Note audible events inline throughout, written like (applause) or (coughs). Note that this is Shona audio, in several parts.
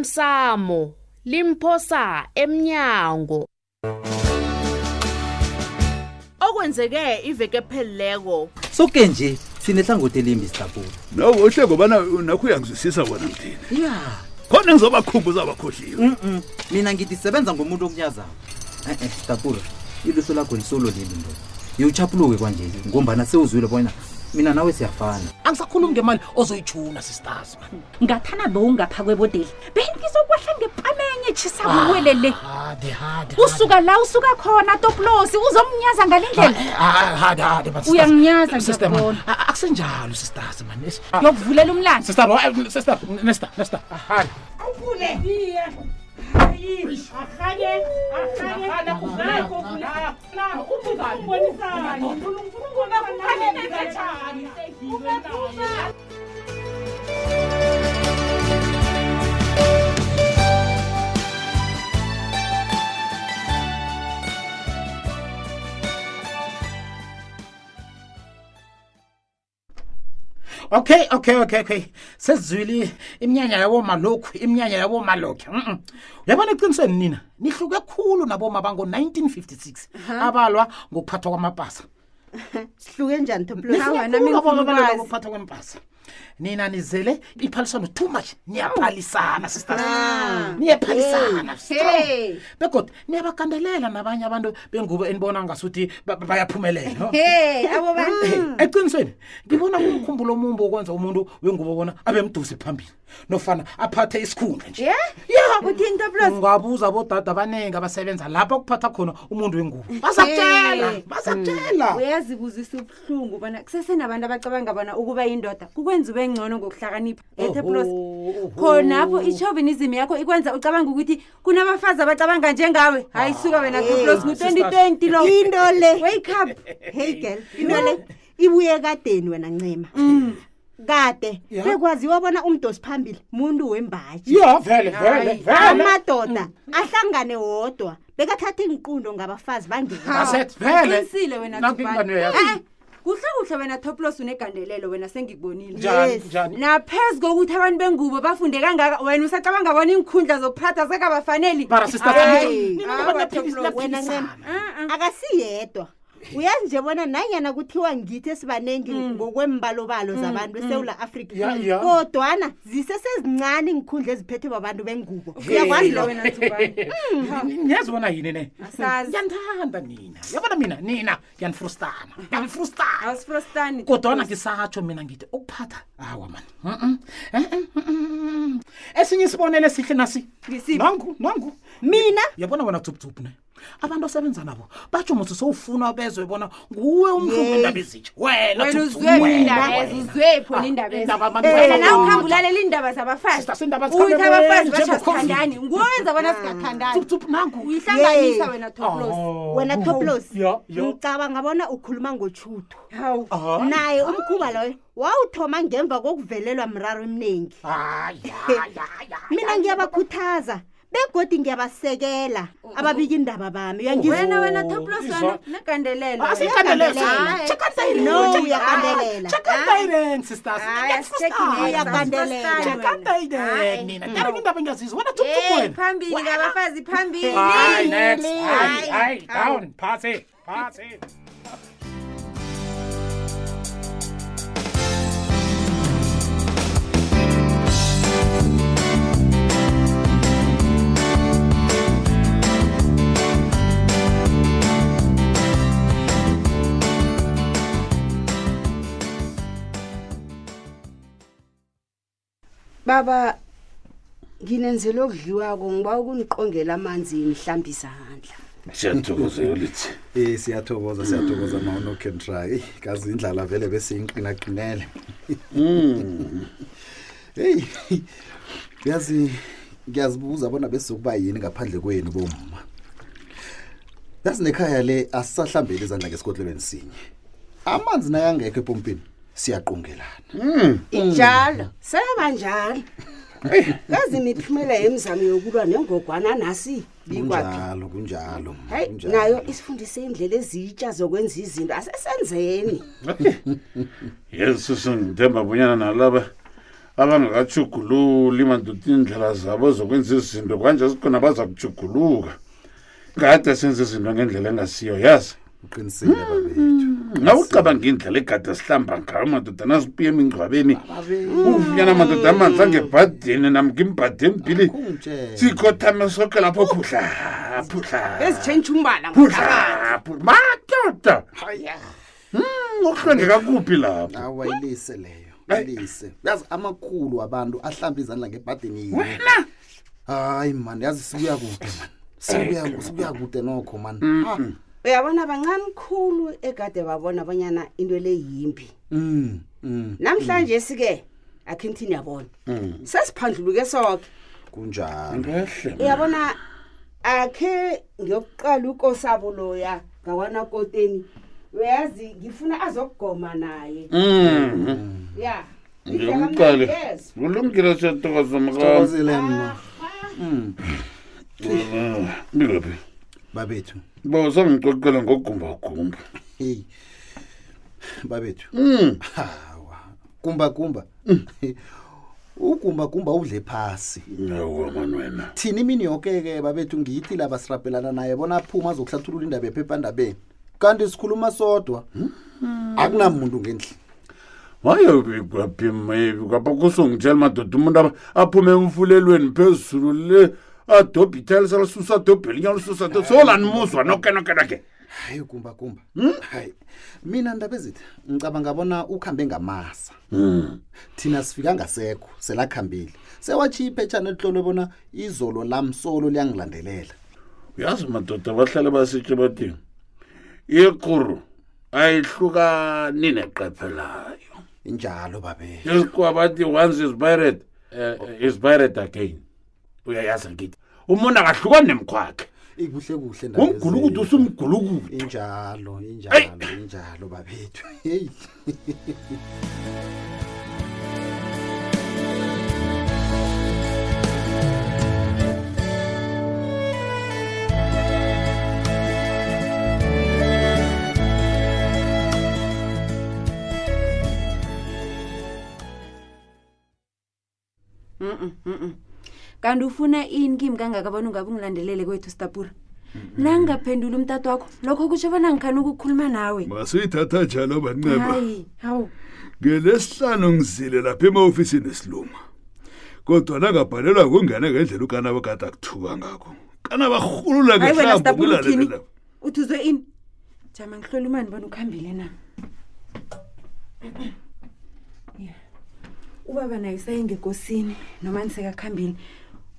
osemsamo limphosa emnyango okwenzeke iveke phelileko soke nje sinehlangothi elimbi sitapula nawo uhle ngobana nakho uyangizwisisa wona mthini ya khona engizobakhumbuza abakhohliwe mm mina ngithi sebenza ngomuntu okunyazako e-e sitapula iliso lakho lisolo leli nto yewuchapuluke kwanje ngombana sewuzwile bona mina nawe siyafana angisakhulumi ngemali ozoyithuna sisters man ngathana bowungapha kwebodeli bengizokwehla ngepamenye tshisabuwele le hade hade usuka la usuka khona toplosi uzomnyaza ngale ndlela Ah, hade hade but sisters- Uyanginyaza, sister man, ngiyakubona. a- akusenjalo sisters man Yes. yokuvulela umlando sister wa- eh, sister nesta nesta ah, hade okay okay okay okay sesizwile iminyanya yabomalokhu iminyanya yabomalokhe mhm uyabona eqinisweni nina nihluke khulu naboma bango-1956 abalwa ngokuphathwa kwamapasa sihluke njani Nihluke khulu naboma abalwa ngokuphathwa kwamapasa nina nizele iphaliswano too much niyaphalisana sisters niyaphalisana strong begoda niyabagandelela nabanye abantu bengubo enibona ngasuthi ba- ba- bayaphumelela no? Hmm. Eh, eqinisweni ngibona kumkhumbulo omumbi wokwenza umuntu wengubo bona abe mdusi phambili nofana aphathe isikhundla nje uthini toplos ungabuza bodada abaningi abasebenza lapho kuphatha khona umuntu wengubo bazakutshela Hmm. bazakutshela uyazibuzisa ubuhlungu bona kusesenabantu abacabanga bona ukuba yindoda kukwenza ube ngcono ngokuhlakanipha eteplos Oho, khonapho ichovinism yakho ikwenza ucabanga ukuthi kunabafazi abacabanga njengawe hayi suka wena toplos ngu-2020 lo into le wake up hey girl into le Hmm. ibuye kadeni wena ncema kade Yeah. bekwaziwa bona umdosi phambili muntu wembaji ya vele vele vele amadoda ahlangane wodwa bekathatha iinqundo ngabafazi bangena Asethi vele uqinisile wena Nanku Thubani. ingane yakho. Eh, kuhle kuhle wena toplos unegandelelo wena sengikubonile njani Yes. njani naphezu kokuthi abantu bengubo bafunde kangaka wena usacabanga bona iinkhundla zokuphatha sekabafaneli mara sister Hayi, nina awa, Thoblo, wena ncema Ah, akasiyedwa Eh. uyazi nje bona nanyana kuthiwa ngithi esibanengi Mm. ngokwembalobalo zabantu esewula afrika Ya, ya. kodwana zisesezincane iinkhundla eziphethwe babantu bengubo uyakwazi lo wena Thubani. niyazi bona yini ne Asazi. ngiyanithanda nina yabona mina nina ngiyanifrustana ngiyanifrustana awusifrostani kodwana ngisatsho mina ngithi ukuphatha awa mani Mm-mm. Mm-mm, mm-mm. esinye isibonelo esihle nasi Ngisiphi? nangu nangu mina yabona wena tsubutsubu ne abantu asebenza nabo batsho muthi sowufuna bezwe bona nguwe umhlungu endaba ezitsha wena wena Tsubutsubu, uzwe wena, indabeza wena. uzwe phona Ah, indabeza indaba abantu wena bayazenza. na uhambe ulalela iindaba zabafazi Sister, sindaba uthi zikhambe abafazi njengo- bashasikhandani nguwenza bona sikathandani Tsubutsubu, Ah. nangu uyihlanganisa Yey. wena toplos Oh. wena toplos Ya, ya. ngicabanga bona ukhuluma ngochudo hawu Ah, naye umkhuba loyo wawuthoma ngemva kokuvelelwa mraro eminingi ah, ya, ya, ya. mina ngiyabakhuthaza begodi ngiyabasekela ababika indaba bami uyangizwa Oh, wena wena toplos Oh, izwa. wena negandelelo Ah, wena. siyigandelela, Uyagandelela. siyigandelela. No, Check- uyagandelela. Ah, check and direct, sisters. Hayi, Ngiyanifrustana. asitjhegi neza, Uyagandelela. asifrostani Check and wena. direct, nina ndaba indaba ngiyazizwa wena Hey, tsubutsubu wena phambili ngabafazi phambili Hayi, next. Hayi, Hayi, hayi, hayi. down. Pass it. Pass it. baba nginenzele okudliwako ngiba ukuniqongela amanzi mhlambi izandla siyathokoza yolithi Eh siyathokoza siyathokoza ma uno can try. Eyi, Kazi indlala vele bese inqina qinele. Hey. Yazi ngiyazibuza bona bese kuba yini ngaphandle kwenu bomma. Yazi nekhaya le asisahlambele izandla ngesikotlebeni sinye. Amanzi nayangekho epompini siyaqongelana. injalo sebanjalo kazi imiphumela yemizamo yokulwa nengogwana nasi bikwaphi Kunjalo kunjalo. hayi kunjalo. nayo isifundise indlela ezitsha zokwenza izinto asesenzeni yesu sengithemba bonyana nalaba abangakajugululi madoda iindlela zabo zokwenza izinto kanje zikhona baza kujuguluka kade senza izinto ngendlela engasiyo yazi Hmm, uqinisile babethu na ucabanga indlela egade sihlamba ngayo madoda nasibuya emingcwabeni uvunyana madoda amanzi angebhadeni namka imbhadi embili Akungitshela. sikhothame soke lapho phudla phudla ezitshentshe umbala phudlaphu madoda Mm, ukuhlwengeka kuphi lapho awayilise leyo ilise yazi amakhulu abantu ahlamba izandla ngebhadeni yini hayi mani yazi sibuya kude mani Sibuya- sibuya kude nokho mani uyabona bancane khulu egade babona abanyana into le yimbi Mm, mm, namhlanje sike akhe ngithini yabona Mm. sesiphandluluke soke kunjalo uyabona akhe ngiyokuqala ukosabo loya ngakwanakoteni uyazi ngifuna azokugoma naye Mm-hmm. ya ngikumqale Yes. ulungile siyatokazomkam thokozile mna Mm. Uh, bikaphi babethu bo sangicocela ngogumbagumba heyi babethu Mm, hawa kumbakumba ukumbakumba udle phasi yawa mani wena thina imini yoke-ke babethu ngiyithi laba sirabhelana naye bona aphuma azokuhlathulula indaba ephephandabeni kanti sikhuluma sodwa akunamuntu ngendlini wayo bikaphi maybe kapha kusongitshela madoda umuntu aba- aphume emfulelweni phezulu le adobhe ithalisa lisusa adobhe elinye lisusa adobhe solanimuzwa nokenokenoke hayi kumbakumba Hmm? hayi mina ndaba ezithi ngicabanga bona ukuhambe ngamasa Hmm. thina sifika ngasekho selakhambile sewatshiya iphetshana elitlolwe bona izolo lamsolo liyangilandelela uyazi madoda bahlale basitshe bathini ikuru ayihlukani neqephe layo injalo babe isikwa bathi once is pirate uh, is pirate again uyayazi ngithi umuntu akahlukani nemkhwakhe ikuhle kuhle ndaba ezethu. umgulukudu usumgulukudu Eh, injalo injalo injalo babethu heyi kanti ufuna ini kimi kangaka bona ungabe ungilandelele kwethu stapura Mm-hmm. nangingaphendula umtata wakho lokho kutsho bona ngikhani ukukhuluma nawe masuyithatha njalo banceba hayi hawu ngelesihlanu ngizile lapha ema-ofisini esilungu kodwa nangabhalelwa kungena ngendlela ukanaba kade akuthuka ngakho kanaba rhulula hayi wena stapura uthini ngehlabulalelelao uthuzwe ini jama ngihlole umani bona ukuhambile na Ya. ubaba naye usaye ngekosini noma nisekakuhambile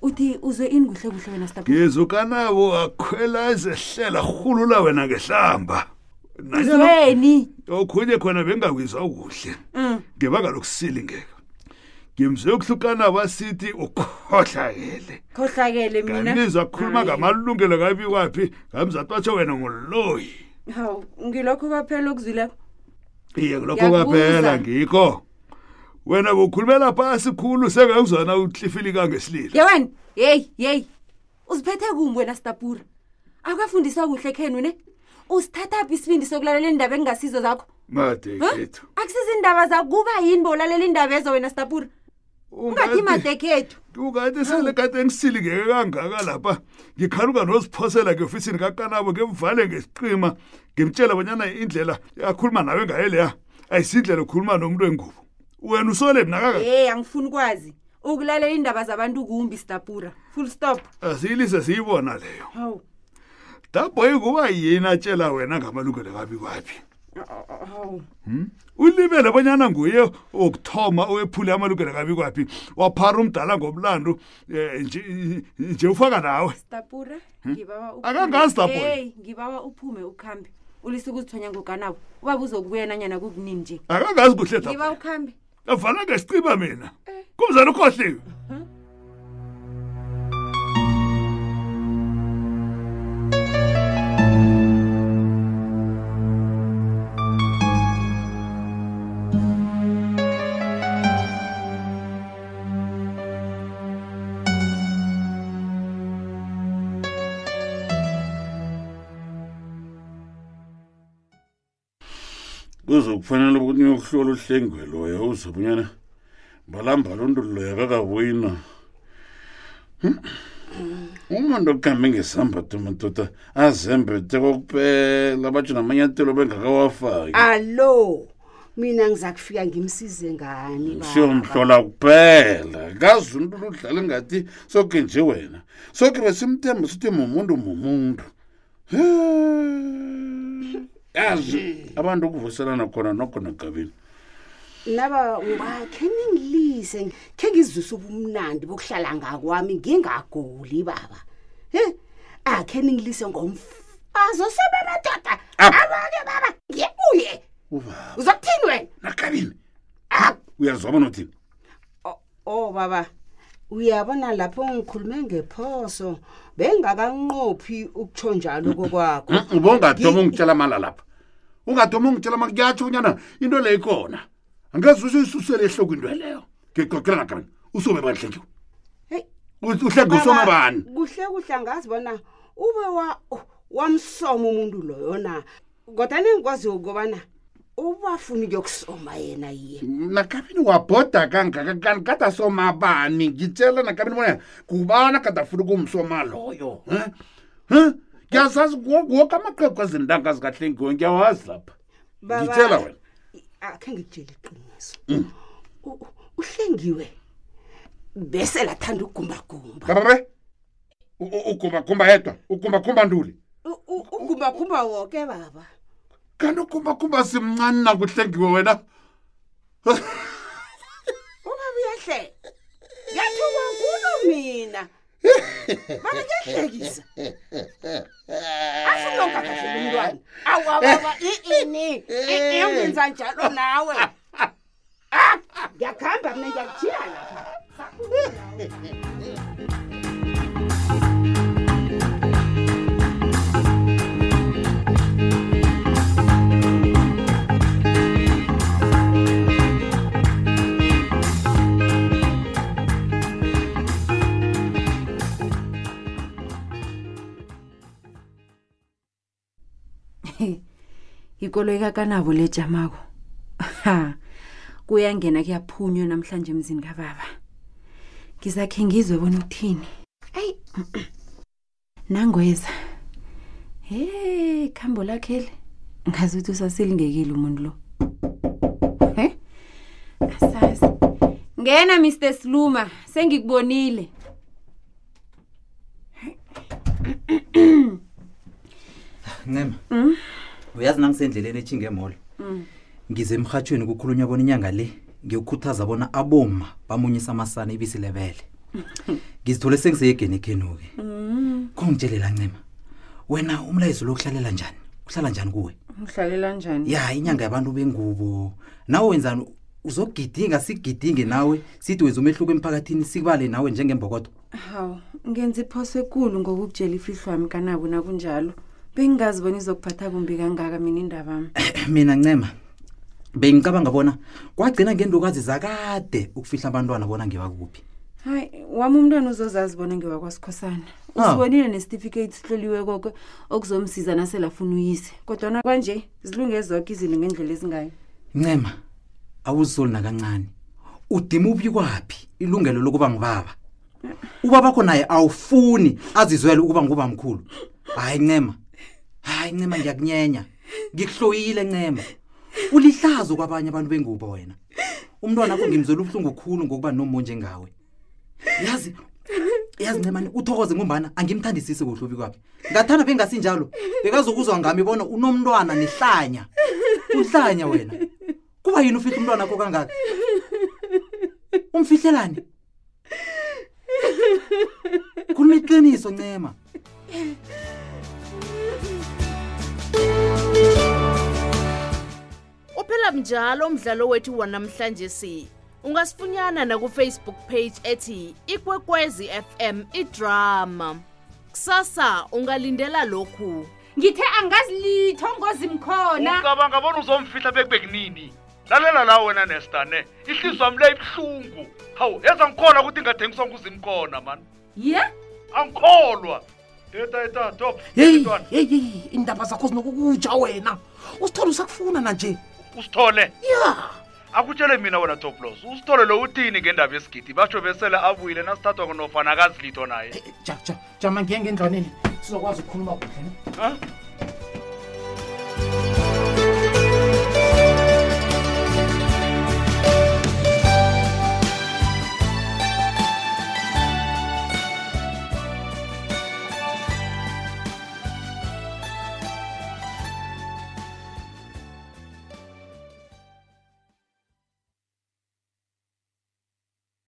uthi uzwe ini kuhle kuhle wena stapura ngizo kanabo akhwela ezehlela rhulula wena ngehlamba Nanyana uzweni okhunye khona bengakwizwa kuhle Mm. ngiba kalokusilingeka ngimzwe ukuhlukana wasithi ukhohlakele khohlakele mina kanti zakhuluma ngamalungelo kabi kwaphi ngamzathi watsho wena nguloyi hawu ngilokho kwaphela okuzwileko iye kulokho kwaphela Ngiyakubuza. ngikho wena bokhulumela phasi khulu sengekuzona uhlifilika ngesililo yewena yeyi yeyi uziphethe kumbi wena stapura akwafundiswa kuhle khenu ne usithatha phi isibindi sokulalela indaba engingasizo zakho made Huh? kethu akusiza indaba zakuba yini bowulalela indaba ezo wena stapura ungathi madekhethu ungathi selekade ngisilingeke kangaka lapha ngikhaluka noziphosela ngeofisini kakanabo ngimvale ngesiqima ngimtshela bonyana indlela akhuluma nawe ngayo leya ayisindlela okhuluma nomuntu wengubo wena usole mna kaka ey angifuni ukwazi ukulalela iindaba zabantu kumbi stapura full stop asiyilise siyibona leyo hawu daboyi kuba yini atshela wena ngamalungelo kabi kwaphi hawu ulibele bonyana nguye wokuthoma owephule amalungelo kabi kwaphi waphara umdala ngomlando eh, nje- nje ufaka nawe stapura ngibawa uphume. Akangazi, Stapura. Hey, ngibawa uphume ukhambe ulise ukuzithonya ngokanabo ubaba uzokubuya nanyana kukunini nje akangazi kuhle ngiba Daboyi. ukhambe avala ngesiciba mina kumzana ukhohliwe kuzokufanele ukuthi niyokuhlola uhlengwe loya uzobunyana balamba loo nto loyo akakawina Hmm? umuntu okuhambe ngesambatho madoda azembethe kokuphela batsho namanyathelo bengakawafaki allo mina ngiza kufika ngimsize ngani baba? siyomhlola kuphela kazi umntu ludlala ngathi soke nje wena soke besimthemba sithi mumuntu mumuntu He. yazi abantu ukuvuselana khona nokona gabini naba ngoba khe ningilise khe ngizwise ubumnandi bokuhlala ngakwami ngingaguli baba he akhe ningilise ngomfazi osebemadoda Ah. abake baba ngiyebuye uba uzokuthini wena nagabini uyazoba nothini o baba uyabona lapho ngikhulume ngephoso bengakanqophi ukutsho njalo kokwakho ubongadoma ungitshela mala lapha ungadoma ungitshela ma kuyatsho unyana into le ikhona angeze usuyisusele ehloko into leyo ngiqoqela ngagabini usome bani hlengiwe Hey. uhlengiwe usome bani kuhle kuhle angazi bona ube wa- wamsoma umuntu loyo na kodwa nengikwaziyo ukobana ubafuni ukuyokusoma yena yiye nakabini wabhoda kangakakani kada soma bani ngitshela nakabini bona kubana kada funa kumsoma loyo eh? Eh? ngiyazazi woke amaqhegu azintanga zikahlengiwe ngiyawazi lapha Baba- ngitshela wena Mm. akhe ngikutshela iqiniso U- u- uhlengiwe bese lathanda ukugumbagumba kabare ugumbagumba yedwa ugumbagumba nduli U- u- ugumbagumba woke baba kanti ugumbagumba simncani nakuhlengiwe wena ubaba uyahleka ngiyathukwa kulo mina baba kuyahlekisa afunongakahleli umntwana awa baba i-ini ngenza njalo nawe Ah, ngiyakuhamba mna ngiyakujiya lapha ikoloyi kakanabo lejamako ha kuyangena kuyaphunywa namhlanje emzini kababa ngizakhe ngizwe bona uthini ayi (clears throat) nangweza he khambo lakhe li ngazi ukuthi usasilingekile umuntu lo he asazi ngena mr sluma sengikubonile ncema uyazi nangisendleleni etshinge emolo ngize emrhatshweni kukhulunywa bona inyanga le ngiyokukhuthaza bona aboma bamunyisa amasana ibisi lebele ngizithole sengiseyegeni ekhenu-ke khongitshelela ncema wena umlayezo lokuhlalela njani uhlala njani kuwe Mm. ngihlalela njani ya inyanga yabantu bengubo nawe wenzani uzogidinga sigidinge nawe sithi wenza umehluko emphakathini sikubale nawe njengembokodo hawu ngenza iphoso ekulu ngokukutshela ifihlwa yami kanabo nakunjalo bengingazi bona izokuphatha kumbi kangaka mina indaba yami (coughs) mina ncema bengicabanga bona kwagcina ngendukazi zakade ukufihla abantwana bona ngibakuphi hayi wami umntwana uzozazi bona ngiwakwasikhosana Ah. usibonile nesitifiketi sihloliwe koke okuzomsiza naselafuna uyise kodwana kwanje zilunge zoke izinto ngendlela ezingayo ncema awuzisoli nakancane udima ubikwaphi ilungelo lokuba ngubaba ubabakho naye awufuni azizwele ukuba nguba mkhulu hayi ncema hayi ncema ngiyakunyenya ngikuhloyile ncema ulihlazo kwabanye abantu bengubo wena umntwana akho ngimzwela ubuhlungu khulu ngokuba nomonje ngawe yazi yazi ncemani uthokoze ngombana angimthandisisi kuhle ubikwaphi ngathanda bengasinjalo bekazokuzwa ngami bona unomntwana nehlanya uhlanya wena kuba yini ufihle umntwana akho kangaka umfihlelani khuluma iqiniso ncema uphela mnjalo umdlalo wethu wanamhlanje si ungasifunyana nakufacebook page ethi ikwekwezi fm idrama kusasa ungalindela lokhu ngithe angazilitho ngozimkhona ucabanga bona uzomfihla bekubekunini lalela la wena nestane ihliziyo yami le ibuhlungu hawu yeza ngikhona ukuthi ngathengiswa nguzimkhona mani ye angikholwa eta eta top heyi mntwana heyi heyi iindaba zakho zinokukutsha wena usithole usakufuna nanje usithole ya akutshele mina wena toplos usithole lo uthini ngendaba yesigidi batsho besele abuyile nasithathwa kunofanakazilitho naye jama ngiye ngendlwaneni sizokwazi ukukhuluma kuhle ne?